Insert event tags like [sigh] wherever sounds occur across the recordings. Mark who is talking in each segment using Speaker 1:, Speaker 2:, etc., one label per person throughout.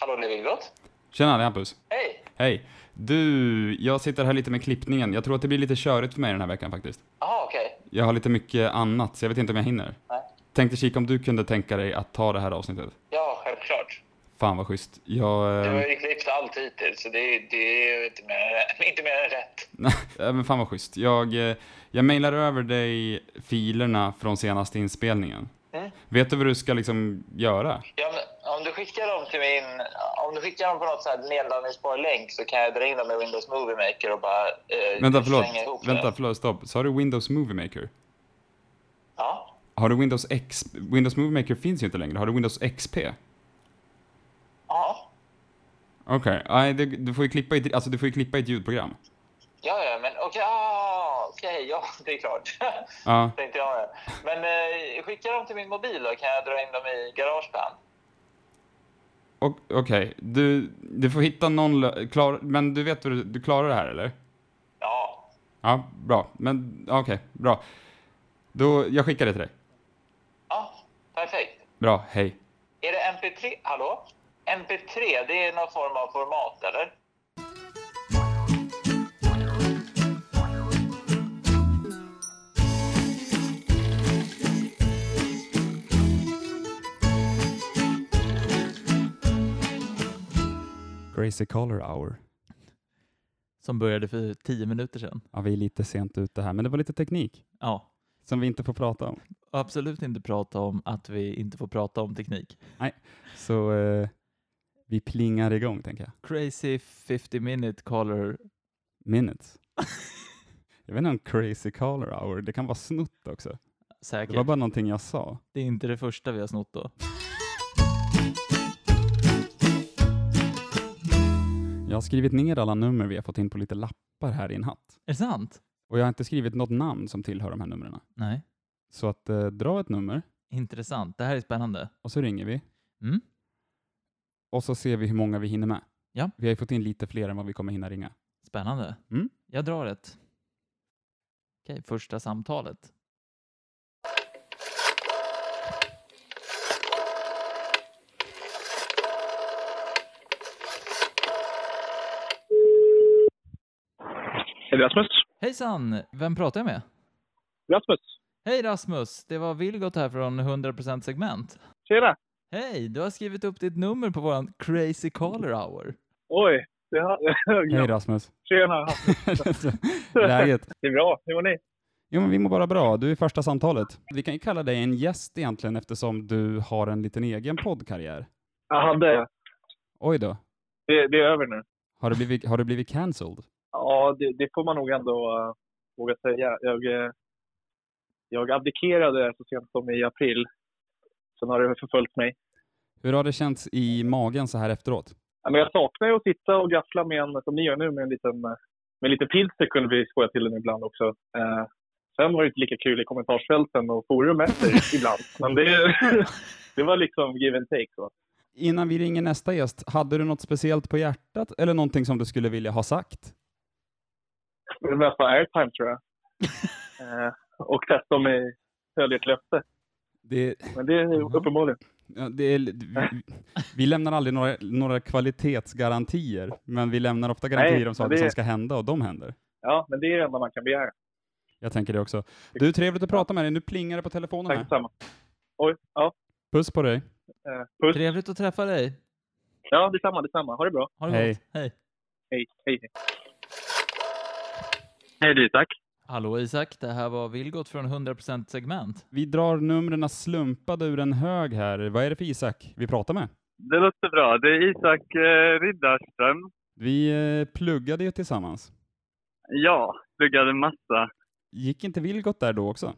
Speaker 1: Hallå, Levinbrott?
Speaker 2: Tjena, det är Hampus.
Speaker 1: Hej!
Speaker 2: Hej. Du, jag sitter här lite med klippningen. Jag tror att det blir lite körigt för mig den här veckan faktiskt.
Speaker 1: Jaha, okej.
Speaker 2: Jag har lite mycket annat, så jag vet inte om jag hinner.
Speaker 1: Nej.
Speaker 2: Tänkte kika om du kunde tänka dig att ta det här avsnittet.
Speaker 1: Ja, självklart.
Speaker 2: Fan vad schysst. Jag...
Speaker 1: Du
Speaker 2: eh,
Speaker 1: har ju klippt allt hittills, så det, det är ju inte mer, [laughs] än- inte mer än rätt.
Speaker 2: [laughs] Nej, men fan vad schysst. Jag, eh, jag mejlar över dig filerna från senaste inspelningen.
Speaker 1: Mm.
Speaker 2: Vet du vad du ska liksom göra?
Speaker 1: Ja, men om du skickar dem till min... Om du skickar dem på något så här nedladdningsbar länk så kan jag dra in dem i Windows Movie Maker och bara eh,
Speaker 2: Vänta,
Speaker 1: slänga ihop
Speaker 2: förlåt.
Speaker 1: det.
Speaker 2: Vänta, förlåt, stopp. Sa du Windows Movie Maker?
Speaker 1: Ja.
Speaker 2: Har du Windows X... Windows Movie Maker finns ju inte längre. Har du Windows XP?
Speaker 1: Ja.
Speaker 2: Okej, nej, det- du får ju klippa i ett, alltså, du får ju klippa i ett ljudprogram.
Speaker 1: Ja, ja, men okej. ah, okej, ja, [laughs] det är klart.
Speaker 2: Ja,
Speaker 1: [laughs] Tänkte jag. ja. Men eh, skicka dem till min mobil då, kan jag dra in dem i Garageband.
Speaker 2: och- okej. Du, du får hitta någon lö- klar, Men du vet vad du, du klarar det här, eller?
Speaker 1: Ja.
Speaker 2: Ja, bra. Men, ja, okej, bra. Då, jag skickar det till dig.
Speaker 1: Ja, perfekt.
Speaker 2: Bra, hej.
Speaker 1: Är det MP3? Hallå? MP3, det är någon form av format, eller?
Speaker 2: Gracie Collar Hour.
Speaker 3: Som började för tio minuter sedan.
Speaker 2: Ja, vi är lite sent ute här, men det var lite teknik
Speaker 3: Ja.
Speaker 2: som vi inte får prata om.
Speaker 3: Och absolut inte prata om att vi inte får prata om teknik.
Speaker 2: Så eh, vi plingar igång, tänker jag.
Speaker 3: Crazy 50 minute caller.
Speaker 2: [laughs] Minutes. Jag vet inte om Crazy Collar Hour, det kan vara snutt också.
Speaker 3: Säkert.
Speaker 2: Det var bara någonting jag sa.
Speaker 3: Det är inte det första vi har snott då.
Speaker 2: Jag har skrivit ner alla nummer vi har fått in på lite lappar här i en hatt.
Speaker 3: Är det sant?
Speaker 2: Och jag har inte skrivit något namn som tillhör de här numren.
Speaker 3: Nej.
Speaker 2: Så att eh, dra ett nummer
Speaker 3: Intressant. Det här är spännande.
Speaker 2: och så ringer vi.
Speaker 3: Mm.
Speaker 2: Och så ser vi hur många vi hinner med.
Speaker 3: Ja.
Speaker 2: Vi har ju fått in lite fler än vad vi kommer hinna ringa.
Speaker 3: Spännande.
Speaker 2: Mm.
Speaker 3: Jag drar ett. Okej, första samtalet.
Speaker 4: Är det Rasmus?
Speaker 3: Hejsan! Vem pratar jag med?
Speaker 4: Rasmus?
Speaker 3: Hej Rasmus! Det var Vilgot här från 100% segment.
Speaker 4: Tjena!
Speaker 3: Hej! Du har skrivit upp ditt nummer på våran Crazy Caller Hour.
Speaker 4: Oj! Det har... [laughs]
Speaker 2: Hej Rasmus! [laughs]
Speaker 4: Tjena!
Speaker 2: Läget?
Speaker 4: Det är bra. Hur mår ni?
Speaker 2: Jo men vi mår bara bra, du är första samtalet. Vi kan ju kalla dig en gäst egentligen eftersom du har en liten egen poddkarriär.
Speaker 4: Jag hade.
Speaker 2: Oj då,
Speaker 4: Det, det är över nu.
Speaker 2: har du blivit, har du blivit cancelled?
Speaker 4: Ja, det, det får man nog ändå eh, våga säga. Jag, eh, jag abdikerade så sent som i april. Sen har det förföljt mig.
Speaker 2: Hur har det känts i magen så här efteråt?
Speaker 4: Ja, Men jag saknar ju att sitta och gaffla med en, som ni gör nu, med en liten, eh, med lite pilsner kunde vi skoja till den ibland också. Eh, sen var det inte lika kul i kommentarsfälten och forum efter [laughs] ibland. Men det, [laughs] det var liksom give and take. Så.
Speaker 2: Innan vi ringer nästa gäst, hade du något speciellt på hjärtat eller någonting som du skulle vilja ha sagt?
Speaker 4: Jag vill mest ha airtime tror jag. eh, och testa om jag höll ert löfte.
Speaker 2: Det,
Speaker 4: Men det är uppenbarligen.
Speaker 2: ja, det är, vi, vi lämnar aldrig några, några kvalitetsgarantier, men vi lämnar ofta garantier
Speaker 4: Nej,
Speaker 2: om
Speaker 4: men
Speaker 2: saker
Speaker 4: det-
Speaker 2: som ska hända och de händer.
Speaker 4: Ja, men det är det enda man kan begära.
Speaker 2: Jag tänker det också. Du, trevligt att prata med dig. Nu plingar det på telefonen
Speaker 4: Tack
Speaker 2: här.
Speaker 4: detsamma. Oj, ja.
Speaker 2: Puss på dig.
Speaker 4: Eh, puss.
Speaker 3: Trevligt att träffa dig.
Speaker 4: Ja, detsamma, detsamma. Ha det bra.
Speaker 3: Ha det
Speaker 2: Hej.
Speaker 3: gott. Hej.
Speaker 4: Hej, hej. hej. Hej, det är Isak.
Speaker 3: Hallå Isak, det här var Vilgot från 100% segment.
Speaker 2: Vi drar numren slumpade ur en hög här. Vad är det för Isak vi pratar med?
Speaker 4: Det låter bra. Det är Isak eh, Riddarström.
Speaker 2: Vi eh, pluggade ju tillsammans.
Speaker 4: Ja, pluggade massa.
Speaker 2: Gick inte Vilgot där då också?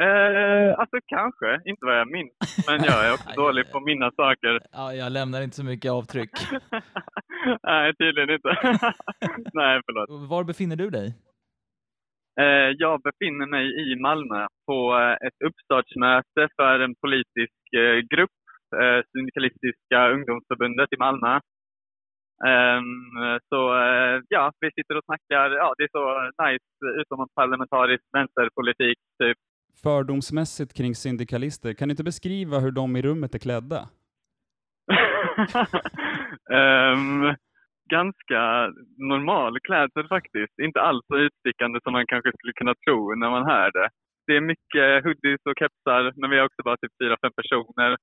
Speaker 4: Eh, alltså kanske, inte vad jag minns. Men jag är också dålig på att minnas saker.
Speaker 3: Ja, jag lämnar inte så mycket avtryck.
Speaker 4: Nej, tydligen inte. [laughs] Nej, förlåt.
Speaker 3: Var befinner du dig? [laughs]
Speaker 4: Eh, jag befinner mig i Malmö på eh, ett uppstartsmöte för en politisk eh, grupp, eh, Syndikalistiska ungdomsförbundet i Malmö. Ehm, så eh, ja, vi sitter och snackar. Ja, det är så nice utomparlamentarisk vänsterpolitik. Typ.
Speaker 2: Fördomsmässigt kring syndikalister, kan du inte beskriva hur de i rummet är klädda?
Speaker 4: [laughs] Ehm, ganska normal klädsel faktiskt. Inte alls så utstickande som man kanske skulle kunna tro när man hör det. Det är mycket hoodies och kepsar, men vi är också bara typ fyra, fem personer.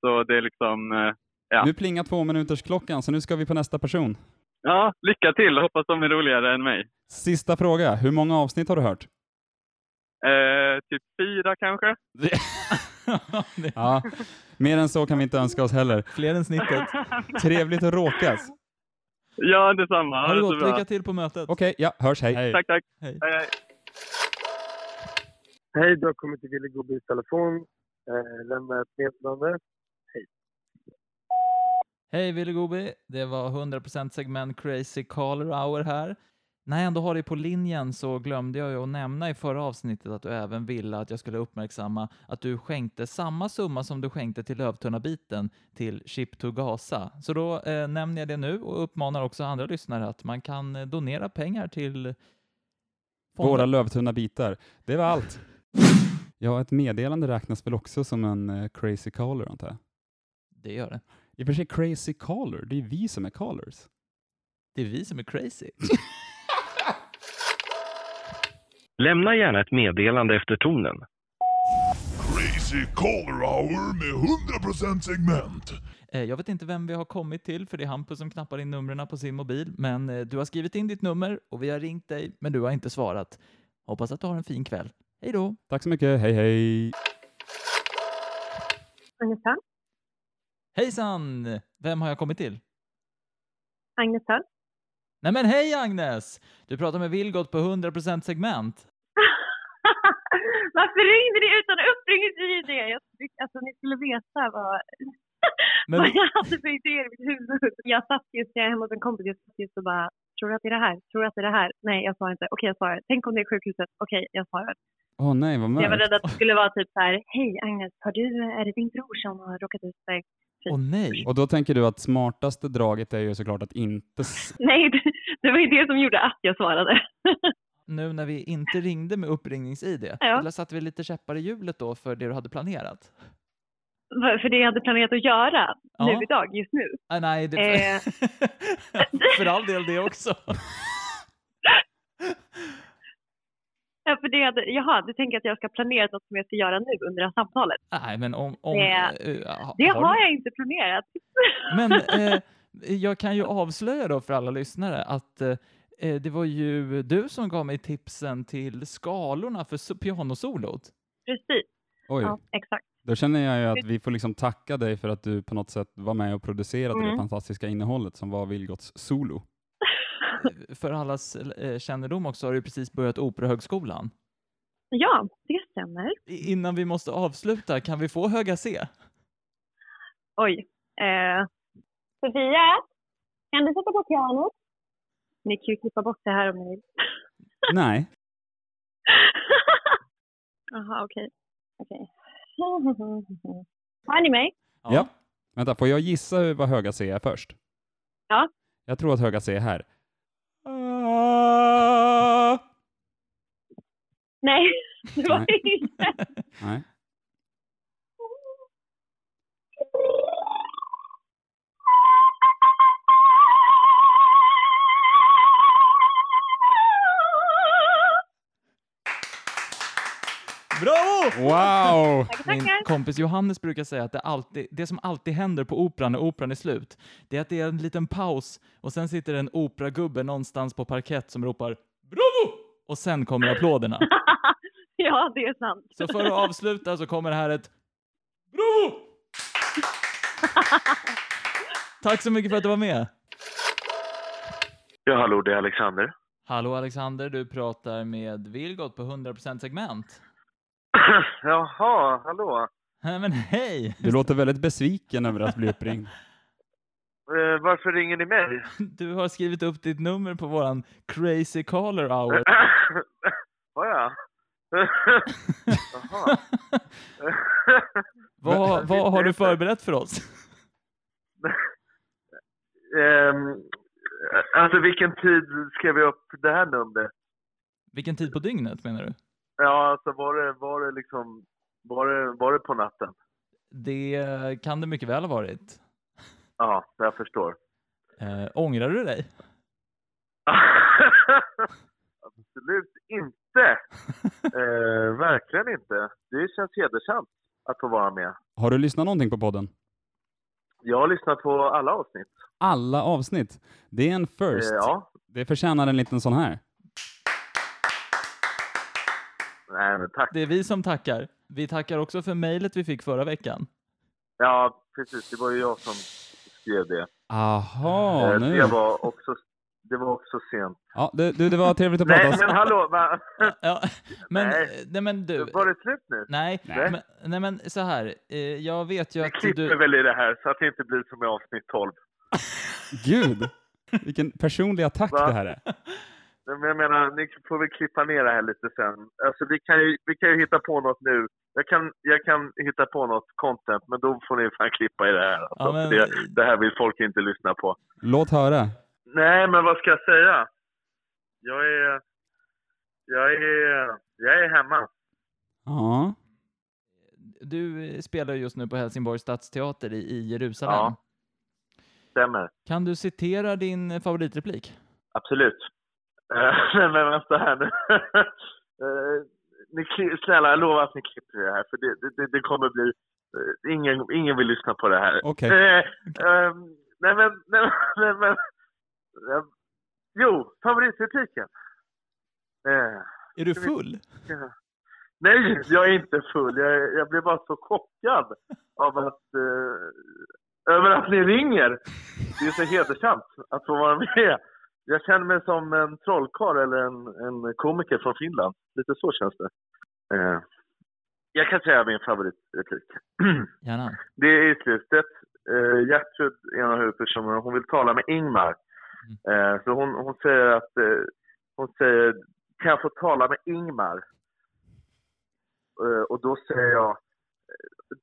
Speaker 4: Så det är liksom, eh, Ja.
Speaker 2: Nu plingar två minuters klockan så nu ska vi på nästa person.
Speaker 4: ja, lycka till! Hoppas de är roligare än mig.
Speaker 2: Sista fråga, hur många avsnitt har du hört?
Speaker 4: Eh, typ
Speaker 3: [laughs]
Speaker 4: fyra kanske?
Speaker 3: Det är
Speaker 5: [laughs]
Speaker 2: Ja, mer än så kan vi inte önska oss heller.
Speaker 3: Fler än snittet.
Speaker 2: Trevligt att råkas.
Speaker 4: ja, detsamma.
Speaker 3: Ha det
Speaker 4: så
Speaker 3: gott,
Speaker 4: bra.
Speaker 3: lycka till på mötet.
Speaker 2: Okej, ja, hörs, hej.
Speaker 4: Tack, tack.
Speaker 3: Hej.
Speaker 4: Hej, hej.
Speaker 6: Hej, du har kommit till Ville Gobbys telefon. Eh, lämna ett meddelande.
Speaker 3: Hej Ville Gobi, det var 100% segment Crazy Caller Hour här. När jag ändå har dig på linjen så glömde jag ju att nämna i förra avsnittet att du även ville att jag skulle uppmärksamma att du skänkte samma summa som du skänkte till Lövtunna-biten till Ship to Gaza. Så då eh, nämner jag det nu och uppmanar också andra lyssnare att man kan eh, donera pengar till fonden.
Speaker 2: Våra lövtunna bitar. Det var allt. Ja, ett meddelande räknas väl också som en eh, crazy caller antar jag.
Speaker 3: Det gör det.
Speaker 2: I och för sig crazy caller, det är vi som är callers.
Speaker 3: Det är vi som är crazy.
Speaker 7: Lämna gärna ett meddelande efter tonen.
Speaker 8: Crazy Caller Hour med 100% segment.
Speaker 3: Eh, Jag vet inte vem vi har kommit till, för det är Hampus som knappar in numren på sin mobil. Men eh, du har skrivit in ditt nummer och vi har ringt dig, men du har inte svarat. Hoppas att du har en fin kväll. Hej då!
Speaker 2: Tack så mycket, hej hej.
Speaker 5: Agnetall.
Speaker 3: Hejsan! Vem har jag kommit till?
Speaker 5: Agnetall.
Speaker 3: Nej men hej Agnes! Du pratar med Vilgot på 100% segment.
Speaker 5: [laughs] Varför ringde ni utan uppringningsid? Jag tyckte alltså, ni skulle veta vad, [laughs]
Speaker 3: Men,
Speaker 5: vad jag hade för idéer i mitt huvud. Jag satt just, jag är hemma hos en kompis, jag satt just och bara Tror du att det är det här? Tror du att det är det här? Nej, jag svarar inte. Okej, jag svarar. Tänk om det är sjukhuset? Okej, jag svarar.
Speaker 2: Åh nej, vad
Speaker 5: Jag var
Speaker 2: mörkt.
Speaker 5: rädd att det skulle vara typ så här. Hej Agnes, har du, är det din bror som har råkat ut för...
Speaker 3: åh nej!
Speaker 2: Och då tänker du att smartaste draget är ju såklart att inte... s-
Speaker 5: Nej, det, det var ju det som gjorde att jag svarade.
Speaker 3: Nu när vi inte ringde med uppringnings-id,
Speaker 5: Ja.
Speaker 3: då satte vi lite käppar i hjulet då för det du hade planerat.
Speaker 5: För för det jag hade planerat att göra
Speaker 3: Ja.
Speaker 5: nu idag, just nu.
Speaker 3: Ah, nej, det...
Speaker 5: Eh.
Speaker 3: [laughs] för all del det också.
Speaker 5: Ja, för det jag hade, jaha, du tänker att jag ska planera något som jag ska göra nu under det här samtalet?
Speaker 3: Nej, men om... om
Speaker 5: Det-
Speaker 3: eh, ha-
Speaker 5: Det
Speaker 3: du-
Speaker 5: har jag inte planerat.
Speaker 3: Men eh, jag kan ju avslöja då för alla lyssnare att eh, eh, det var ju du som gav mig tipsen till skalorna för so- pianosolot.
Speaker 5: Precis,
Speaker 2: Oj,
Speaker 5: [laughs] ja, exakt.
Speaker 2: då känner jag ju att vi får liksom tacka dig för att du på något sätt var med och producerade det
Speaker 5: Mm.
Speaker 2: fantastiska innehållet som var Vilgots solo.
Speaker 3: Eh, För allas eh, kännedom också har du precis börjat Operahögskolan.
Speaker 5: Ja, det stämmer.
Speaker 3: I- Innan vi måste avsluta, kan vi få höga C?
Speaker 5: Oj. Eh, Sofia, kan du sätta på pianot? Ni kan ju klippa bort det här om ni vill. [laughs]
Speaker 2: nej.
Speaker 5: Jaha, okej. Okej. Hör ni mig?
Speaker 2: Ja. Vänta, får jag gissa hur- vad höga C är först?
Speaker 5: Ja.
Speaker 2: Jag tror att höga C är här.
Speaker 5: [laughs] Nej, [laughs] det var
Speaker 2: Nej.
Speaker 5: inte.
Speaker 2: Nej.
Speaker 3: Bravo!
Speaker 2: Wow!
Speaker 5: Tackar,
Speaker 3: Min
Speaker 5: tackar.
Speaker 3: kompis Johannes brukar säga att det, alltid, det som alltid händer på operan när operan är slut, det är att det är en liten paus och sen sitter en operagubbe någonstans på parkett som ropar ”Bravo!” och sen kommer applåderna.
Speaker 5: Ja, det är sant.
Speaker 3: Så för att avsluta så kommer här ett Bravo! [laughs] Tack så mycket för att du var med.
Speaker 9: Ja, hallå, det är Alexander.
Speaker 3: Hallå Alexander, du pratar med Vilgot på 100% segment.
Speaker 4: Jaha, hallå.
Speaker 3: Nej men hej!
Speaker 2: Du låter väldigt besviken över att bli uppringd.
Speaker 4: Eh, varför ringer ni mig?
Speaker 3: Du har skrivit upp ditt nummer på våran crazy caller hour.
Speaker 4: Har jag? Jaha.
Speaker 3: Vad, vad har du förberett för oss?
Speaker 9: Ehm, alltså, vilken tid skrev vi upp det här numret?
Speaker 3: Vilken tid på dygnet menar du?
Speaker 9: Ja, alltså var det, var det liksom... Var det, var det på natten?
Speaker 3: Det kan det mycket väl ha varit.
Speaker 9: Ja, jag [laughs] förstår.
Speaker 3: Eh, ångrar du dig?
Speaker 9: Absolut [laughs] inte. Eh, verkligen inte. Det känns hedersamt att få vara med.
Speaker 2: Har du lyssnat någonting på podden?
Speaker 9: Jag har lyssnat på alla avsnitt.
Speaker 2: Alla avsnitt. Det är en
Speaker 9: Eh,
Speaker 2: first.
Speaker 9: ja.
Speaker 2: Det förtjänar en liten sån här.
Speaker 9: Nej, men tack.
Speaker 3: Det är vi som tackar. Vi tackar också för mejlet vi fick förra
Speaker 9: [laughs]
Speaker 3: veckan.
Speaker 9: Ja, precis. Det var ju jag som skrev det.
Speaker 2: Aha,
Speaker 9: Eh,
Speaker 2: nu.
Speaker 9: det, var också, det var också sent.
Speaker 2: Ja, du, du, det var trevligt att
Speaker 9: Nej,
Speaker 2: prata.
Speaker 9: men hallå! Va?
Speaker 3: Ja, men,
Speaker 9: Nej.
Speaker 3: nej, men du.
Speaker 9: Var det slut nu?
Speaker 3: Nej,
Speaker 9: Nej.
Speaker 3: men, nej, men så här. eh, Jag vet ju
Speaker 9: Vi
Speaker 3: att
Speaker 9: klipper
Speaker 3: du...
Speaker 9: väl i det här så att det inte blir som i avsnitt 12.
Speaker 2: Gud, vilken personlig attack
Speaker 9: Va?
Speaker 2: det här är.
Speaker 9: Men jag menar, ni får väl klippa ner det här lite sen. Alltså vi kan ju, vi kan ju hitta på något nu. Jag kan, jag kan hitta på något content, men då får ni fan klippa i det här. Alltså,
Speaker 3: Ja, men- eh,
Speaker 9: för det, det här vill folk inte lyssna på.
Speaker 2: Låt höra.
Speaker 9: Nej, men vad ska jag säga? Jag är... Jag är, jag är hemma.
Speaker 2: Ja.
Speaker 3: Du eh, spelar ju just nu på Helsingborgs stadsteater i, i Jerusalem.
Speaker 9: Ja. Stämmer.
Speaker 3: Kan du citera din eh, favoritreplik?
Speaker 9: Absolut. Eh, [laughs] Men, men vänta [laughs] här nu. Eh, ni, kli- snälla, jag lovar att ni klipper det här, för det, det- det, det kommer bli... eh, Ingen, ingen vill lyssna på det här.
Speaker 2: Okej.
Speaker 9: Eh, ehm, nej men, nej [laughs] men, nej men. Eh, jo, favoritrepliken. Eh,
Speaker 3: Är du
Speaker 9: Ska vi-
Speaker 3: full?
Speaker 9: nej, jag är inte full. Jag, jag blev bara så chockad av att, eh, över att ni ringer. Det är så hedersamt att få vara med. Jag känner mig som en trollkarl eller en, en komiker från Finland. Lite så känns det. Eh, jag kan säga min favoritreplik. [clears throat]
Speaker 3: Gärna.
Speaker 9: Det är i slutet. Eh, Gertrud är en av huvudpersonerna. Hon vill tala med Ingmar. Eh, så hon, hon säger att... Eh, hon säger, kan jag få tala med Ingmar? Eh, och då säger jag,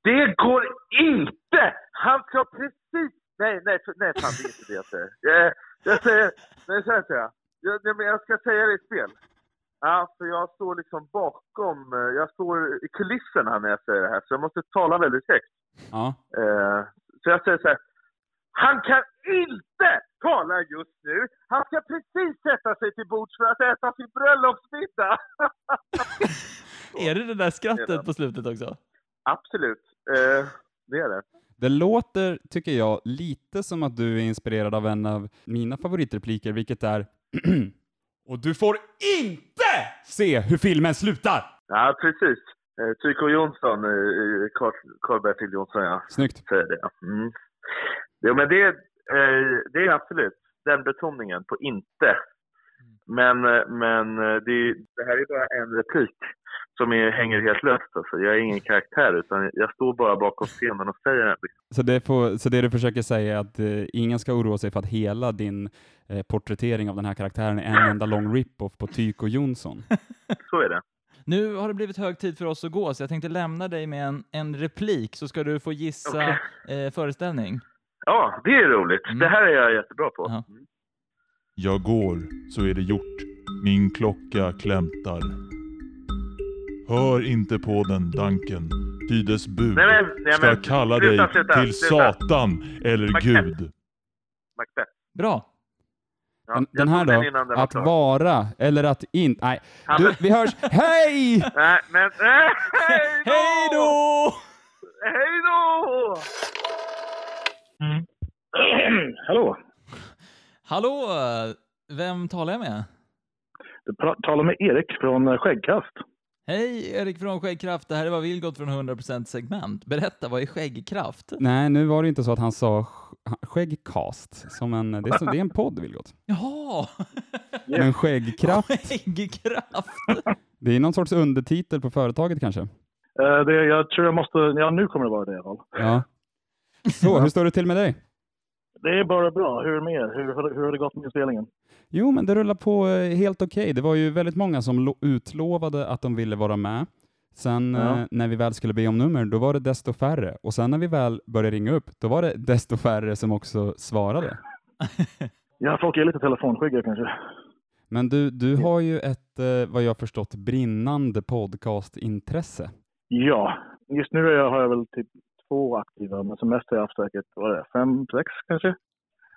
Speaker 9: det går inte! Han ska precis... Nej, nej, för, nej fan, det är inte det jag säger. Jag, jag säger, nej så här säger jag. Jag, nej, men jag ska säga det i spel. Ja, för jag står liksom bakom, eh, jag står i kulisserna när jag säger det här, så jag måste tala väldigt högt.
Speaker 2: Ja.
Speaker 9: Eh, så jag säger så här. Han kan inte tala just nu. Han ska precis sätta sig till bords för att äta sin bröllopsmiddag.
Speaker 3: Är det det där
Speaker 9: Redan.
Speaker 3: skrattet på slutet också?
Speaker 9: Absolut. Eh, det är det.
Speaker 2: Det låter, tycker jag, lite som att du är inspirerad av en av mina favoritrepliker, vilket är [clears throat] Och du får INTE se hur filmen slutar!
Speaker 9: Ja, precis. Eh, Tycho Jonsson, eh, Carl- Carl-Bertil Jonsson, ja.
Speaker 2: Snyggt.
Speaker 9: Säger det. Mm. Jo, men det, eh, det är absolut den betoningen på inte. Men, eh, men eh, det, det här är bara en replik som är, hänger helt löst. Alltså. Jag är ingen karaktär, utan jag står bara bakom scenen och säger det.
Speaker 2: Så det, får, så det du försöker säga är att eh, ingen ska oroa sig för att hela din eh, porträttering av den här karaktären är en enda lång rip-off på Tyko Jonsson.
Speaker 9: Så är det.
Speaker 3: Nu har det blivit hög tid för oss att gå, så jag tänkte lämna dig med en, en replik, så ska du få gissa eh, föreställning.
Speaker 9: Ja, det är roligt.
Speaker 3: Mm.
Speaker 9: Det här är jag jättebra på.
Speaker 3: Ja.
Speaker 8: Jag går, så är det gjort. Min klocka klämtar. Hör inte på den danken, ty dess bud
Speaker 9: Nej, men- nej,
Speaker 8: ska
Speaker 9: men-
Speaker 8: kalla
Speaker 9: sluta,
Speaker 8: dig
Speaker 9: sluta,
Speaker 8: till
Speaker 9: sluta.
Speaker 8: Satan eller
Speaker 9: Max-
Speaker 8: Gud.
Speaker 9: Macbeth.
Speaker 3: Bra.
Speaker 9: Ja,
Speaker 2: Den,
Speaker 9: jag
Speaker 2: den här
Speaker 9: tog
Speaker 2: då?
Speaker 9: innan den var
Speaker 2: att
Speaker 9: klar.
Speaker 2: vara eller att inte... Nej, du, vi
Speaker 9: [laughs]
Speaker 2: hörs. Hej!
Speaker 9: Nej, men... [laughs] Nej,
Speaker 3: Hej då!
Speaker 9: Hej då!
Speaker 7: Hallå,
Speaker 3: Hallå! Vem talar jag med?
Speaker 7: du pra- talar med Erik från eh, Skäggkast.
Speaker 3: Hej, Erik från Skäggkraft. Det här var Vilgot från 100% segment. Berätta, vad är Skäggkraft?
Speaker 2: Nej, nu var det inte så att han sa sk- skäggcast. Som en, det, är så, det är en podd, Vilgot.
Speaker 9: [laughs]
Speaker 3: Jaha!
Speaker 2: Men skäggkraft,
Speaker 3: [laughs] Skäggkraft!
Speaker 2: det är någon sorts undertitel på företaget kanske?
Speaker 7: Eh, det, jag tror jag måste, ja nu kommer det vara det i alla fall.
Speaker 2: Ja. Så, hur står det till med dig?
Speaker 7: Det är bara bra. Hur är det med er? Hur, hur, hur har det gått med inspelningen?
Speaker 2: Jo, men det rullar på eh, helt okej. Det var ju väldigt många som lo- utlovade att de ville vara med. Sen
Speaker 7: Ja.
Speaker 2: eh, när vi väl skulle be om nummer, då var det desto färre. Och sen när vi väl började ringa upp, då var det [laughs] desto färre som också svarade.
Speaker 7: [laughs] Ja, folk är lite telefonskygga kanske.
Speaker 2: Men du, du har ju ett, eh, vad jag förstått, brinnande podcastintresse.
Speaker 7: Ja, just nu är jag- har jag väl typ
Speaker 6: två aktiva, men som mest har jag haft säkert, vad är det, fem, sex kanske?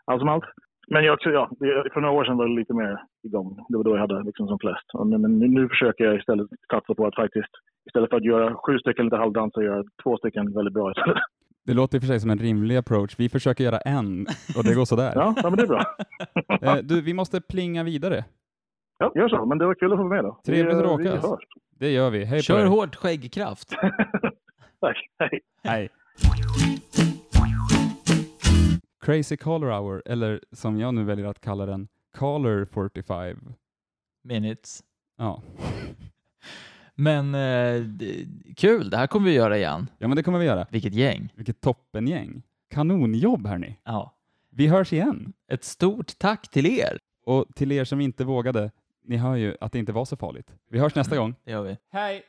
Speaker 6: Allt som allt. Men jag också, ja, det- för några år sedan var det lite mer igång. Det var då jag hade liksom som flest. Och nu- Men nu, nu försöker jag istället satsa på att faktiskt, istället för att göra sju stycken lite halvdanser, göra två stycken väldigt bra istället.
Speaker 2: Det låter i och för sig som en rimlig approach. Vi försöker göra en och det går
Speaker 3: [laughs]
Speaker 2: sådär.
Speaker 6: Ja, ja men det är bra.
Speaker 2: Eh, du, vi måste plinga vidare.
Speaker 6: Ja, gör så. Men det var kul att få vara med då.
Speaker 2: Trevligt att
Speaker 6: Vi, eh,
Speaker 2: råkas.
Speaker 6: Vi hörs.
Speaker 2: Det gör vi. Hej på
Speaker 3: Kör
Speaker 2: er.
Speaker 3: hårt skäggkraft.
Speaker 6: Tack. Hej.
Speaker 2: Hej. Crazy Caller Hour, eller som jag nu väljer att kalla den, Caller 45.
Speaker 3: Minutes.
Speaker 2: Ja.
Speaker 3: Men eh, d- kul, det här kommer vi göra igen.
Speaker 2: ja, men det kommer vi göra.
Speaker 3: Vilket gäng.
Speaker 2: Vilket toppengäng. Kanonjobb hörni.
Speaker 3: Ja.
Speaker 2: Vi hörs igen.
Speaker 3: Ett stort tack till er.
Speaker 2: Och till er som inte vågade, ni hör ju att det inte var så farligt. Vi hörs nästa gång.
Speaker 3: Det gör vi.
Speaker 2: Hej!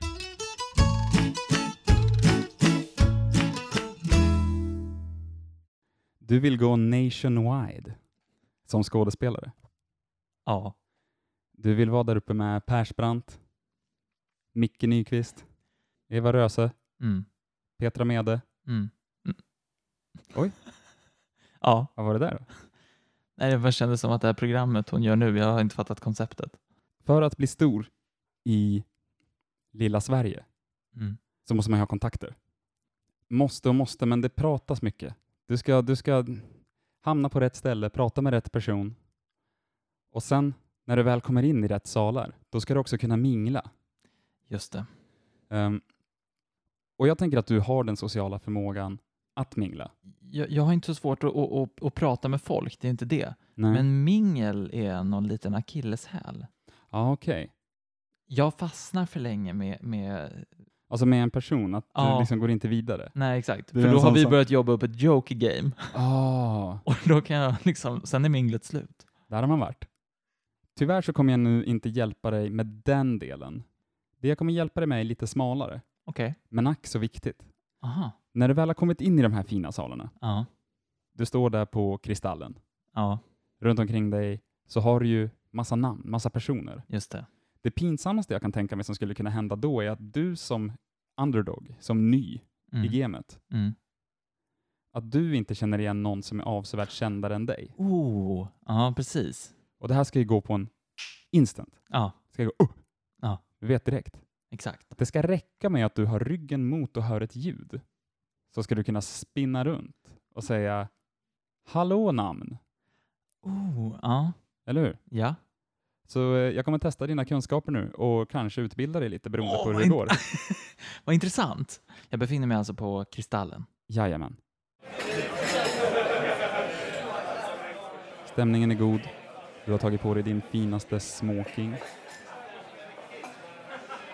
Speaker 2: Du vill gå nationwide som skådespelare.
Speaker 3: Ja.
Speaker 2: Du vill vara där uppe med Persbrandt, Micke Nyqvist, Eva Röse,
Speaker 3: Mm.
Speaker 2: Petra Mede.
Speaker 3: Mm. Mm.
Speaker 2: Oj.
Speaker 3: Ja.
Speaker 2: Vad var det där då?
Speaker 3: Nej, det bara kändes som att det här programmet hon gör nu, jag har inte fattat konceptet.
Speaker 2: För att bli stor i lilla Sverige
Speaker 3: Mm.
Speaker 2: så måste man ju ha kontakter. Måste och måste, men det pratas mycket. Du ska, du ska hamna på rätt ställe, prata med rätt person och sen när du väl kommer in i rätt salar, då ska du också kunna mingla.
Speaker 3: Just det.
Speaker 2: Ehm, och jag tänker att du har den sociala förmågan att mingla.
Speaker 3: Jag, jag har inte så svårt att, att, att, att prata med folk, det är inte det.
Speaker 2: Nej.
Speaker 3: Men mingel är någon liten akilleshäl.
Speaker 2: Ja, okej.
Speaker 3: Jag fastnar för länge med... med...
Speaker 2: Alltså med en person, att
Speaker 3: Ja.
Speaker 2: du liksom går inte vidare.
Speaker 3: Nej, exakt.
Speaker 2: Det är
Speaker 3: För
Speaker 2: en
Speaker 3: då har
Speaker 2: sån
Speaker 3: vi
Speaker 2: sak.
Speaker 3: börjat jobba upp ett joke game. [laughs]
Speaker 2: Ah,
Speaker 3: Och då kan jag liksom... Sen är minglet slut.
Speaker 2: där har man varit. Tyvärr så kommer jag nu inte hjälpa dig med den delen. Det jag kommer hjälpa dig med är lite smalare,
Speaker 3: Okej.
Speaker 2: men ack så viktigt.
Speaker 3: Aha.
Speaker 2: När du väl har kommit in i de här fina salarna,
Speaker 3: Ja.
Speaker 2: du står där på Kristallen,
Speaker 3: Ja,
Speaker 2: runt omkring dig så har du ju massa namn, massa personer.
Speaker 3: just det.
Speaker 2: Det pinsammaste jag kan tänka mig som skulle kunna hända då är att du som underdog, som ny
Speaker 3: Mm.
Speaker 2: i gamet,
Speaker 3: Mm.
Speaker 2: att du inte känner igen någon som är avsevärt kändare än dig.
Speaker 3: Oh, ja precis.
Speaker 2: Och det här ska ju gå på en instant.
Speaker 3: Ja,
Speaker 2: Det ska gå upp.
Speaker 3: Ja.
Speaker 2: Du vet direkt.
Speaker 3: exakt.
Speaker 2: Det ska räcka med att du har ryggen mot och hör ett ljud. Så ska du kunna spinna runt och säga ”Hallå namn”,
Speaker 3: Oh, ja.
Speaker 2: eller hur?
Speaker 3: Ja.
Speaker 2: Så eh, jag kommer testa dina kunskaper nu och kanske utbilda dig lite beroende
Speaker 3: Åh,
Speaker 2: på hur
Speaker 3: vad
Speaker 2: det
Speaker 3: in-
Speaker 2: går.
Speaker 3: [laughs] Vad intressant. Jag befinner mig alltså på Kristallen.
Speaker 2: Jajamän. Stämningen är god. Du har tagit på dig din finaste smoking.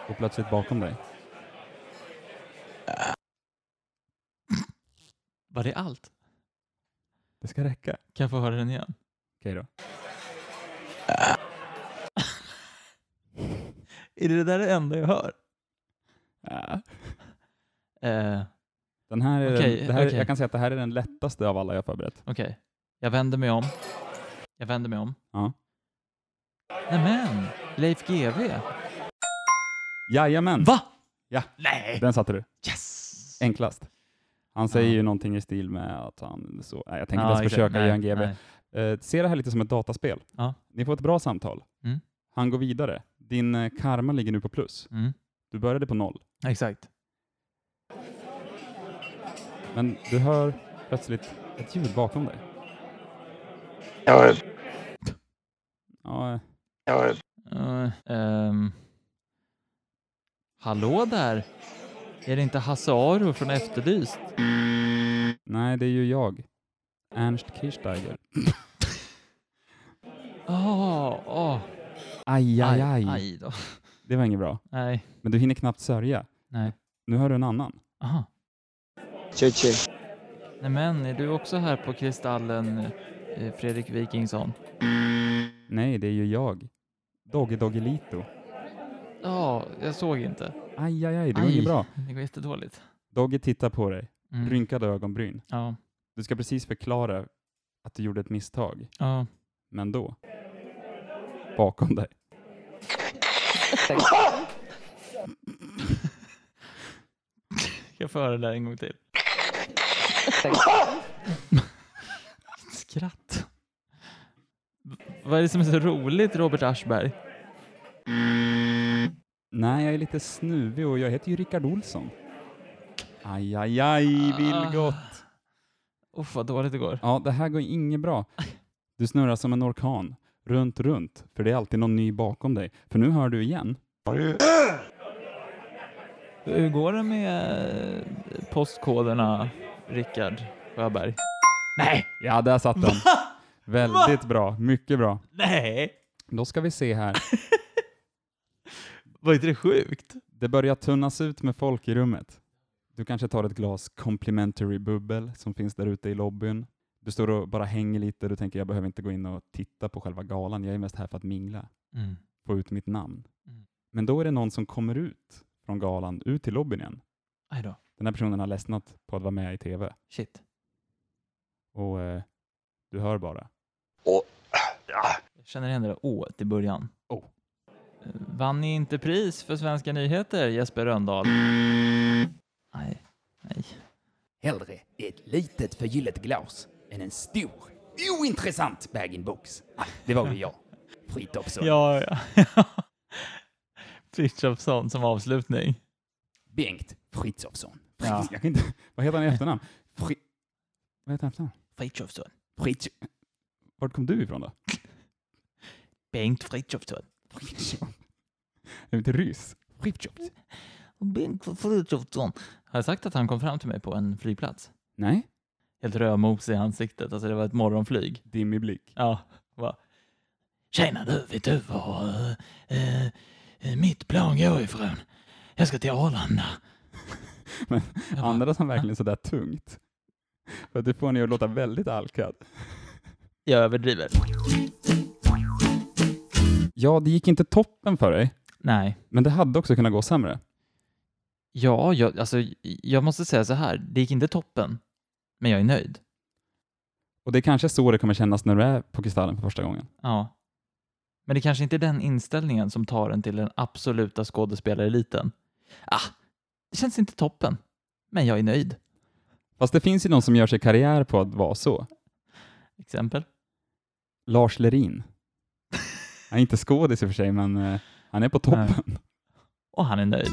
Speaker 2: Och plötsligt bakom dig.
Speaker 3: Var det allt?
Speaker 2: Det ska räcka.
Speaker 3: Kan jag få höra den igen?
Speaker 2: Okej då.
Speaker 3: Är det det där det enda jag hör?
Speaker 2: Ja.
Speaker 3: Eh,
Speaker 2: Den här är
Speaker 3: Okej,
Speaker 2: den, det här,
Speaker 3: okej.
Speaker 2: Jag kan säga att det här är den lättaste av alla jag förberett.
Speaker 3: Okej. Jag vänder mig om. Jag vänder mig om.
Speaker 2: Ja.
Speaker 3: Nämen! Leif GW.
Speaker 2: Jajamän!
Speaker 3: Va?
Speaker 2: Ja.
Speaker 3: Nej!
Speaker 2: Den satte du.
Speaker 3: Yes!
Speaker 2: Enklast. Han säger
Speaker 3: Ja.
Speaker 2: ju någonting i stil med att han... Så, nej, jag tänker
Speaker 3: Ja,
Speaker 2: inte ens
Speaker 3: exakt.
Speaker 2: försöka
Speaker 3: Nej,
Speaker 2: göra en GV.
Speaker 3: nej.
Speaker 2: Eh, se det här lite som ett dataspel.
Speaker 3: Ja.
Speaker 2: Ni får ett bra samtal.
Speaker 3: Mm.
Speaker 2: Han går vidare. Din eh, karma ligger nu på plus.
Speaker 3: Mm.
Speaker 2: Du började på noll.
Speaker 3: Exakt.
Speaker 2: Men du hör plötsligt ett ljud bakom dig.
Speaker 1: Jag,
Speaker 2: Ja, eh,
Speaker 1: jag,
Speaker 3: Eh, ehm. hallå där! Är det inte Hasse Aro från Efterlyst?
Speaker 2: nej, det är ju jag. Ernst Kirchsteiger.
Speaker 3: Åh, åh.
Speaker 2: Aj, aj, aj,
Speaker 3: Ah, aj då.
Speaker 2: Det var inget bra.
Speaker 3: Nej,
Speaker 2: Men du hinner knappt sörja.
Speaker 3: nej.
Speaker 2: Nu hör du en annan.
Speaker 3: Aha.
Speaker 1: tje, tje.
Speaker 3: Nej men, är du också här på Kristallen, eh, Fredrik Wikingsson?
Speaker 2: Nej, det är ju jag. Doggy Doggelito.
Speaker 3: Ja, jag såg inte.
Speaker 2: Aj, aj, aj, det var
Speaker 3: Aj.
Speaker 2: inget bra.
Speaker 3: Det går jättedåligt.
Speaker 2: Doggy tittar på dig,
Speaker 3: Mm.
Speaker 2: rynkade ögonbryn.
Speaker 3: Ja,
Speaker 2: Du ska precis förklara att du gjorde ett misstag,
Speaker 3: ja.
Speaker 2: men då... Bakom dig.
Speaker 3: Ska jag få höra det där en gång till?
Speaker 10: sex.
Speaker 3: [laughs] Skratt. V- Vad är det som är så roligt, Robert Aschberg?
Speaker 2: Nej, jag är lite snuvig och jag heter ju Rickard Olsson. Aj, aj, aj,
Speaker 3: Ah.
Speaker 2: Vilgot.
Speaker 3: Uff, vad dåligt det går.
Speaker 2: Ja, det här går inget bra. Du snurrar som en orkan, runt, runt, för det är alltid någon ny bakom dig. För nu hör du igen.
Speaker 3: Hur går det med eh, postkoderna, Rickard Sjöberg? Nej!
Speaker 2: Ja, där satt
Speaker 3: [laughs]
Speaker 2: den. Väldigt bra, mycket bra.
Speaker 3: Nej!
Speaker 2: Då ska vi se här.
Speaker 3: Var inte det sjukt?
Speaker 2: Det börjar tunnas ut med folk i rummet. Du kanske tar ett glas complimentary bubbel som finns där ute i lobbyn. Du står och bara hänger lite. Du tänker jag behöver inte gå in och titta på själva galan. Jag är mest här för att mingla,
Speaker 3: Mm.
Speaker 2: få ut mitt namn.
Speaker 3: Mm.
Speaker 2: Men då är det någon som kommer ut från galan, ut till lobbyn igen.
Speaker 3: Aj då.
Speaker 2: Den här personen har ledsnat på att vara med i TV
Speaker 3: Shit.
Speaker 2: och eh, du hör bara.
Speaker 3: Jag känner igen det där ået i början.
Speaker 2: Oh.
Speaker 3: Eh, Vann ni inte pris för Svenska nyheter, Jesper Röndahl? Nej. Nej.
Speaker 11: Hellre ett litet förgyllt glas än en stor, ointressant bag-in-box. Ah, det var ju jag, Frithiofsson.
Speaker 3: Ja, ja. [laughs] Frithiofsson som avslutning.
Speaker 11: Bengt Frithiofsson.
Speaker 3: Ja.
Speaker 2: [laughs] Jag kan inte, vad heter han i efternamn? Fri, vad heter han i efternamn?
Speaker 3: Frithiofsson.
Speaker 11: Fritz...
Speaker 2: Vart kom du ifrån då?
Speaker 3: Bengt Frithiofsson.
Speaker 2: Är du inte ryss?
Speaker 11: Frithiofsson.
Speaker 3: Bengt Frithiofsson. Har jag sagt att han kom fram till mig på en flygplats?
Speaker 2: Nej,
Speaker 3: Helt rödmosig i ansiktet. Alltså det var ett morgonflyg.
Speaker 2: dimmig blick.
Speaker 3: Ja, va. Tjena du, vet du var eh, eh, mitt plan går ifrån? Jag ska till Arlanda. [laughs]
Speaker 2: Men
Speaker 3: Jag bara,
Speaker 2: Andades han verkligen sådär tungt? För att du får henne att låta väldigt alkad.
Speaker 3: Jag överdriver.
Speaker 2: Ja, det gick inte toppen för dig,
Speaker 3: Nej.
Speaker 2: men det hade också kunnat gå sämre.
Speaker 3: Ja, jag, alltså, jag måste säga så här. Det gick inte toppen, men jag är nöjd.
Speaker 2: Och det är kanske så det kommer kännas när du är på Kristallen för första gången.
Speaker 3: Ja. Men det kanske inte är den inställningen som tar en till den absoluta skådespelareliten. Ah, det känns inte toppen, men jag är nöjd.
Speaker 2: Fast det finns ju någon som gör sig karriär på att vara så.
Speaker 3: Exempel?
Speaker 2: Lars Lerin. Han är inte skådis i och för sig, men eh, han är på toppen.
Speaker 3: Och han är nöjd.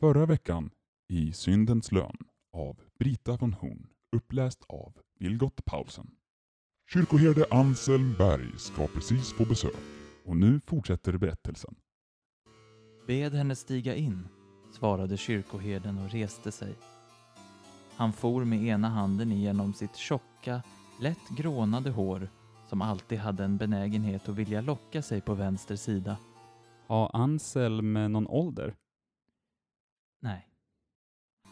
Speaker 8: Förra veckan i Syndens lön av Brita von Horn, uppläst av Vilgot Paulsen. Kyrkoherde Anselm Berg ska precis få besök och nu fortsätter berättelsen.
Speaker 3: Bed henne stiga in, svarade kyrkoherden och reste sig. Han for med ena handen igenom sitt tjocka, lätt grånade hår som alltid hade en benägenhet att vilja locka sig på vänster sida.
Speaker 2: Har Anselm eh, någon ålder?
Speaker 3: Nej.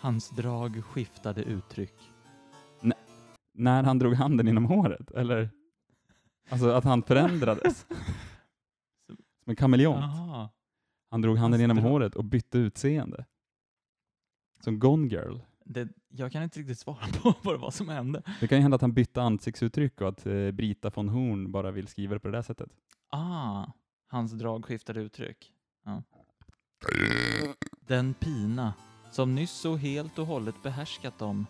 Speaker 3: Hans drag skiftade uttryck.
Speaker 2: När han drog handen inom håret? Eller? Alltså att han
Speaker 3: [laughs]
Speaker 2: förändrades? Som en kameleont.
Speaker 3: Jaha.
Speaker 2: Han drog handen genom
Speaker 3: Alltså, det-
Speaker 2: håret och bytte utseende. Som Gone Girl.
Speaker 3: Det, jag kan inte riktigt svara [laughs] på vad det var som hände.
Speaker 2: Det kan ju hända att han bytte ansiktsuttryck och att eh, Brita von Horn bara vill skriva det på det där sättet.
Speaker 3: Ah, hans drag skiftade uttryck. Ja. Den pina som nyss så helt och hållet behärskat dem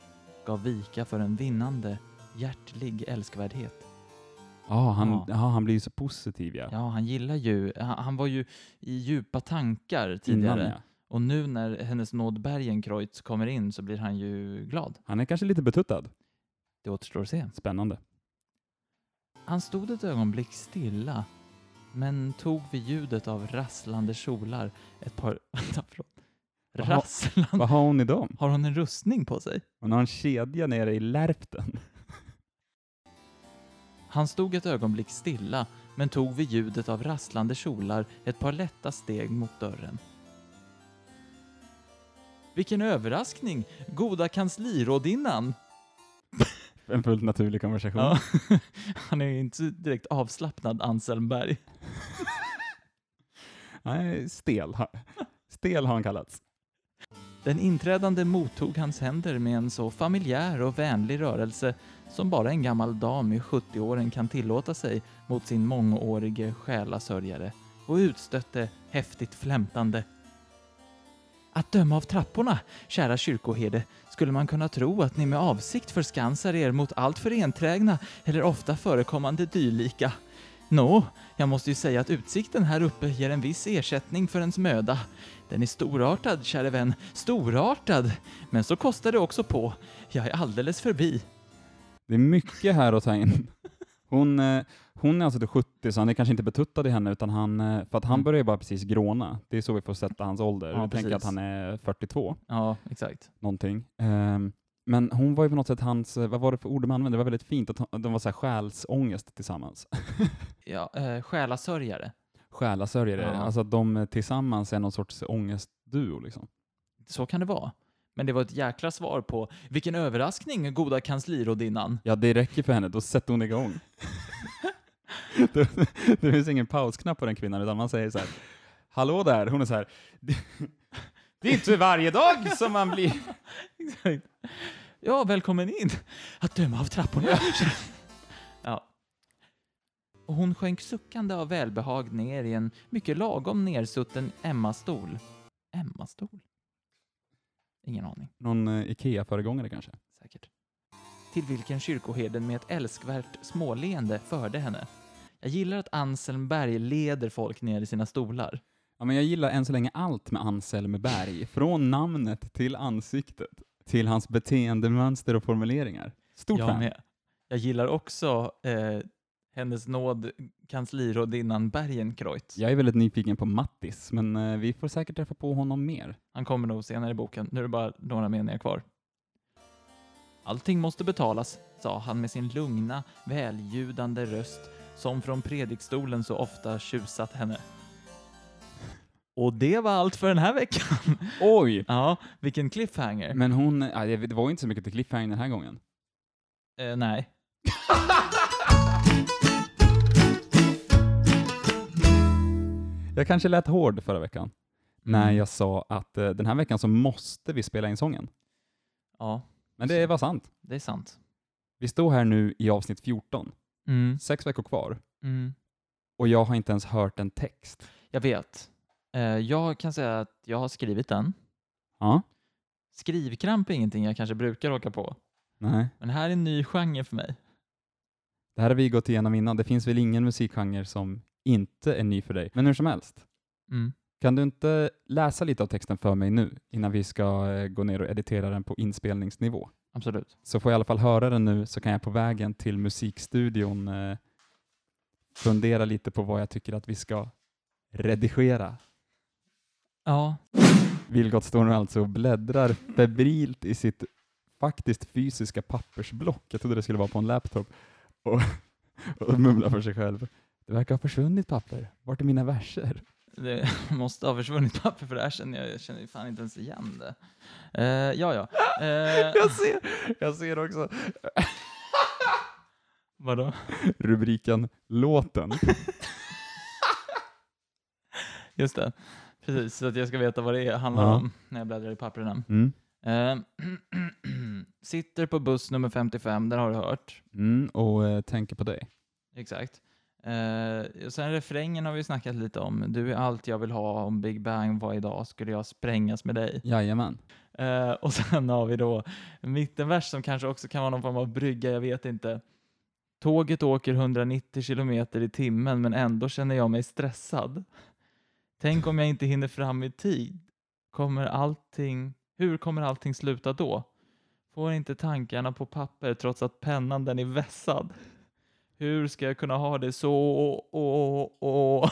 Speaker 3: gav vika för en vinnande, hjärtlig älskvärdhet.
Speaker 2: Ja, han,
Speaker 3: Ja.
Speaker 2: ja, han blir ju så positiv ja.
Speaker 3: Ja, han gillar ju... Han, han var ju i djupa tankar
Speaker 2: Innan,
Speaker 3: tidigare.
Speaker 2: ja.
Speaker 3: Och nu när hennes nåd Bergenkreutz kommer in så blir han ju glad.
Speaker 2: Han är kanske lite betuttad.
Speaker 3: Det återstår att se.
Speaker 2: Spännande.
Speaker 3: Han stod ett ögonblick stilla, men tog vid ljudet av rasslande kjolar ett par... [laughs] Vänta, förlåt.
Speaker 2: Vad har-
Speaker 3: Rasslande...
Speaker 2: Vad har hon i dem?
Speaker 3: Har hon en rustning på sig?
Speaker 2: Hon har en kedja nere i lärpten.
Speaker 3: Han stod ett ögonblick stilla, men tog vid ljudet av rasslande kjolar ett par lätta steg mot dörren. Vilken överraskning! Goda kanslirådinnan!
Speaker 2: [laughs] En fullt naturlig konversation.
Speaker 3: Ja. [laughs] Han är ju inte direkt avslappnad, Anselm Berg.
Speaker 2: Nej, stel. ha- [laughs] Stel har han kallats.
Speaker 3: Den inträdande mottog hans händer med en så familjär och vänlig rörelse som bara en gammal dam i 70-åren kan tillåta sig mot sin mångårige själasörjare och utstötte häftigt flämtande. Att döma av trapporna, kära kyrkoherde, skulle man kunna tro att ni med avsikt förskansar er mot alltför enträgna eller ofta förekommande dylika. Nå, jag måste ju säga att utsikten här uppe ger en viss ersättning för ens möda. Den är storartad, käre vän, storartad! Men så kostar det också på. Jag är alldeles förbi.
Speaker 2: Det är mycket här att ta in. Hon, eh, hon är alltså till 70, så han är kanske inte betuttad i henne, utan han, eh, för att han börjar ju bara precis gråna. Det är så vi får sätta hans ålder.
Speaker 3: Ja,
Speaker 2: vi tänker att
Speaker 3: precis.
Speaker 2: han är 42,
Speaker 3: Ja, exakt.
Speaker 2: någonting. Ehm, men hon var ju på något sätt hans, eh, vad var det för ord de använde? Det var väldigt fint att hon- de var så här själsångest tillsammans. [laughs]
Speaker 3: Ja, eh, själasörjare.
Speaker 2: Själasörjare,
Speaker 3: Ja.
Speaker 2: alltså att de eh, tillsammans är någon sorts ångestduo liksom.
Speaker 3: Så kan det vara. Men det var ett jäkla svar på “Vilken överraskning, goda kanslirådinnan!”
Speaker 2: Ja, det räcker för henne. Då sätter hon igång. det, det finns ingen pausknapp på den kvinnan, utan man säger så här. Hallå där! Hon är så här. [laughs] "Det- Det är inte varje dag som man blir...
Speaker 3: Exakt. Ja, välkommen in! Att döma av trapporna. ja. Och hon sjönk suckande av välbehag ner i en mycket lagom nersutten Emma-stol. Emma-stol? Ingen aning.
Speaker 2: Någon eh, Ikea-föregångare kanske?
Speaker 3: säkert. Till vilken kyrkoherden med ett älskvärt småleende förde henne. Jag gillar att Anselm Berg leder folk ner i sina stolar.
Speaker 2: Ja, men jag gillar än så länge allt med Anselm Berg. Från namnet till ansiktet, till hans beteendemönster och formuleringar. Stort
Speaker 3: jag
Speaker 2: fan.
Speaker 3: med. Jag gillar också eh, hennes nåd kanslirådinnan Bergenkreutz.
Speaker 2: Jag är väldigt nyfiken på Mattis, men eh, vi får säkert träffa på honom mer.
Speaker 3: Han kommer nog senare i boken. Nu är det bara några meningar kvar. Allting måste betalas, sa han med sin lugna, väljudande röst som från predikstolen så ofta tjusat henne. Och det var allt för den här veckan. [laughs]
Speaker 2: Oj!
Speaker 3: Ja, vilken cliffhanger.
Speaker 2: Men hon... ja, det det var ju inte så mycket till cliffhanger den här gången.
Speaker 3: Eh, nej.
Speaker 2: Jag kanske lät hård förra veckan när jag sa att eh, den här veckan så måste vi spela in sången.
Speaker 3: Ja,
Speaker 2: Men det var sant.
Speaker 3: det är sant.
Speaker 2: Vi står här nu i avsnitt 14,
Speaker 3: Mm.
Speaker 2: sex veckor kvar,
Speaker 3: Mm.
Speaker 2: och jag har inte ens hört en text.
Speaker 3: Jag vet. Eh, jag kan säga att jag har skrivit den.
Speaker 2: Ja,
Speaker 3: Skrivkramp är ingenting jag kanske brukar åka på,
Speaker 2: nej.
Speaker 3: men det här är en ny genre för mig.
Speaker 2: Det här har vi gått igenom innan. Det finns väl ingen musikgenre som inte är ny för dig. Men hur som helst,
Speaker 3: Mm.
Speaker 2: kan du inte läsa lite av texten för mig nu innan vi ska eh, gå ner och editera den på inspelningsnivå?
Speaker 3: Absolut.
Speaker 2: Så får jag i alla fall höra den nu så kan jag på vägen till musikstudion eh, fundera lite på vad jag tycker att vi ska redigera.
Speaker 3: Ja,
Speaker 2: Vilgot står nu alltså och bläddrar febrilt i sitt faktiskt fysiska pappersblock. Jag trodde det skulle vara på en laptop. Och, [laughs] och mumlar för sig själv. Det verkar ha försvunnit papper. Vart är mina verser? [laughs]
Speaker 3: Det [laughs] måste ha försvunnit papper för det här känner jag, jag känner ju fan inte ens igen det. Eh, ja, ja. Eh,
Speaker 2: [laughs] Jag ser, jag ser också
Speaker 3: [laughs] Vadå?
Speaker 2: rubriken Låten.
Speaker 3: Just det. Precis, så att jag ska veta vad det är, handlar
Speaker 2: Ja.
Speaker 3: om när jag bläddrar i papperna.
Speaker 2: Mm.
Speaker 3: Eh, [clears throat] sitter på buss nummer 55, den har du hört.
Speaker 2: Mm, och eh, tänker på dig.
Speaker 3: Exakt. Eh, och sen refrängen har vi snackat lite om. Du är allt jag vill ha, om Big Bang var idag skulle jag sprängas med dig.
Speaker 2: Jajamän.
Speaker 3: Eh, och sen har vi då mittenvers som kanske också kan vara någon form av brygga, jag vet inte. Tåget åker 190 kilometer i timmen men ändå känner jag mig stressad. Tänk om jag inte hinner fram i tid. Kommer allting, hur kommer allting sluta då? Får inte tankarna på papper trots att pennan den är vässad. Hur ska jag kunna ha det så? Åh, åh.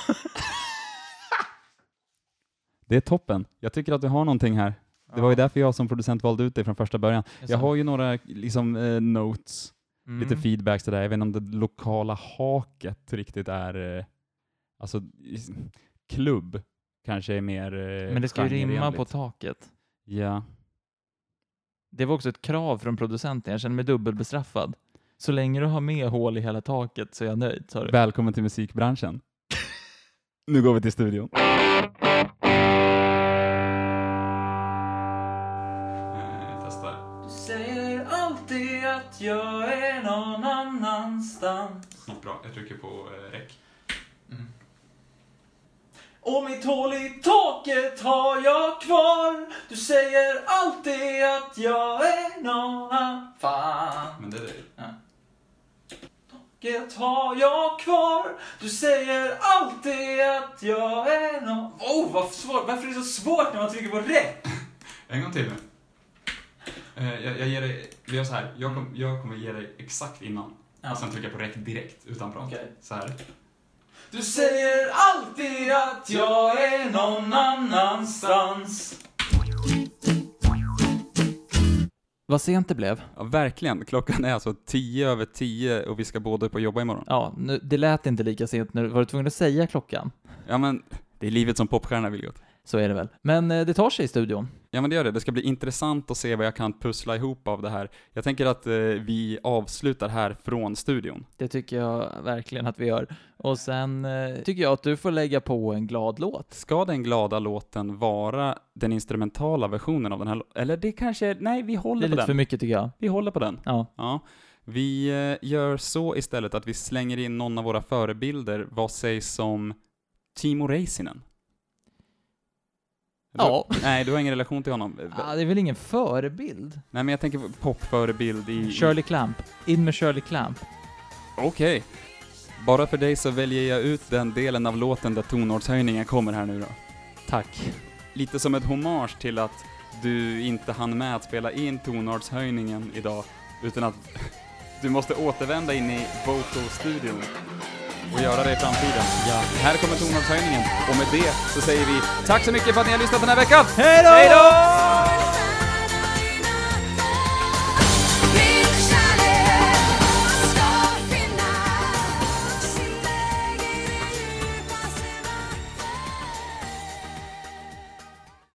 Speaker 2: Det är toppen. Jag tycker att du har någonting här. Det var ju därför jag som producent valde ut dig från första början. Jag har ju några liksom, eh, notes
Speaker 3: Mm.
Speaker 2: lite feedback sådär. Jag vet inte om det lokala haket riktigt är... eh, Alltså, is- klubb kanske är mer eh,
Speaker 3: Men det ska ju rimma
Speaker 2: genreenligt.
Speaker 3: på taket.
Speaker 2: Ja.
Speaker 3: Det var också ett krav från producenten. Jag känner mig dubbelbestraffad. Så länge du har med hål i hela taket så är jag nöjd, sa du.
Speaker 2: Välkommen till musikbranschen.
Speaker 3: [laughs]
Speaker 2: nu går vi till studion.
Speaker 3: Eh, Du säger alltid att jag är någon annanstans.
Speaker 2: Skitbra. Jag trycker på eh, rec.
Speaker 10: Och mitt hål i taket har jag kvar. Du säger alltid att jag är någon fan.
Speaker 3: Men det är det. Ja.
Speaker 10: Taket har jag kvar. Du säger alltid att jag är någon... Oh, vad svårt. Varför är det så svårt när man trycker på rätt?
Speaker 12: En gång till nu. Eh, Jag, jag ger dig, vi gör så här. Jag, kom, jag kommer ge dig exakt innan. Och sen trycker jag på räck direkt, utan prat. Så här.
Speaker 10: Du säger alltid att jag är någon annanstans.
Speaker 3: Vad sent det blev.
Speaker 2: Ja, verkligen. Klockan är alltså tio över tio och vi ska båda upp och jobba imorgon.
Speaker 3: Ja, nu, det lät inte lika sent nu. Var du tvungen att säga klockan?
Speaker 2: Ja, men det är livet som popstjärna, Vilgot.
Speaker 3: Så är det väl. Men eh, det tar sig i studion.
Speaker 2: Ja, men det gör det. Det ska bli intressant att se vad jag kan pussla ihop av det här. Jag tänker att eh, vi avslutar här från studion.
Speaker 3: Det tycker jag verkligen att vi gör. Och sen eh, tycker jag att du får lägga på en glad låt.
Speaker 2: Ska den glada låten vara den instrumentala versionen av den här lå- Eller det kanske, nej vi håller
Speaker 3: Det är
Speaker 2: på
Speaker 3: lite
Speaker 2: den.
Speaker 3: för mycket tycker jag.
Speaker 2: Vi håller på den.
Speaker 3: Ja.
Speaker 2: Vi eh, gör så istället att vi slänger in någon av våra förebilder. Vad sägs om Timo Räisänen?
Speaker 3: Ja.
Speaker 2: Du, nej, du har ingen relation till honom.
Speaker 3: Ah, det är väl ingen förebild?
Speaker 2: Nej, men jag tänker på popförebild i...
Speaker 3: Shirley Clamp. In med Shirley Clamp.
Speaker 2: Okej. Bara för dig så väljer jag ut den delen av låten där tonartshöjningen kommer här nu då.
Speaker 3: Tack.
Speaker 2: Lite som ett hommage till att du inte hann med att spela in tonartshöjningen idag, utan att [laughs] du måste återvända in i Vocal-studion och göra det i framtiden. Ja. Här kommer tonartshöjningen, och med det så säger vi tack så mycket för att ni har lyssnat den här veckan!
Speaker 10: Hej då!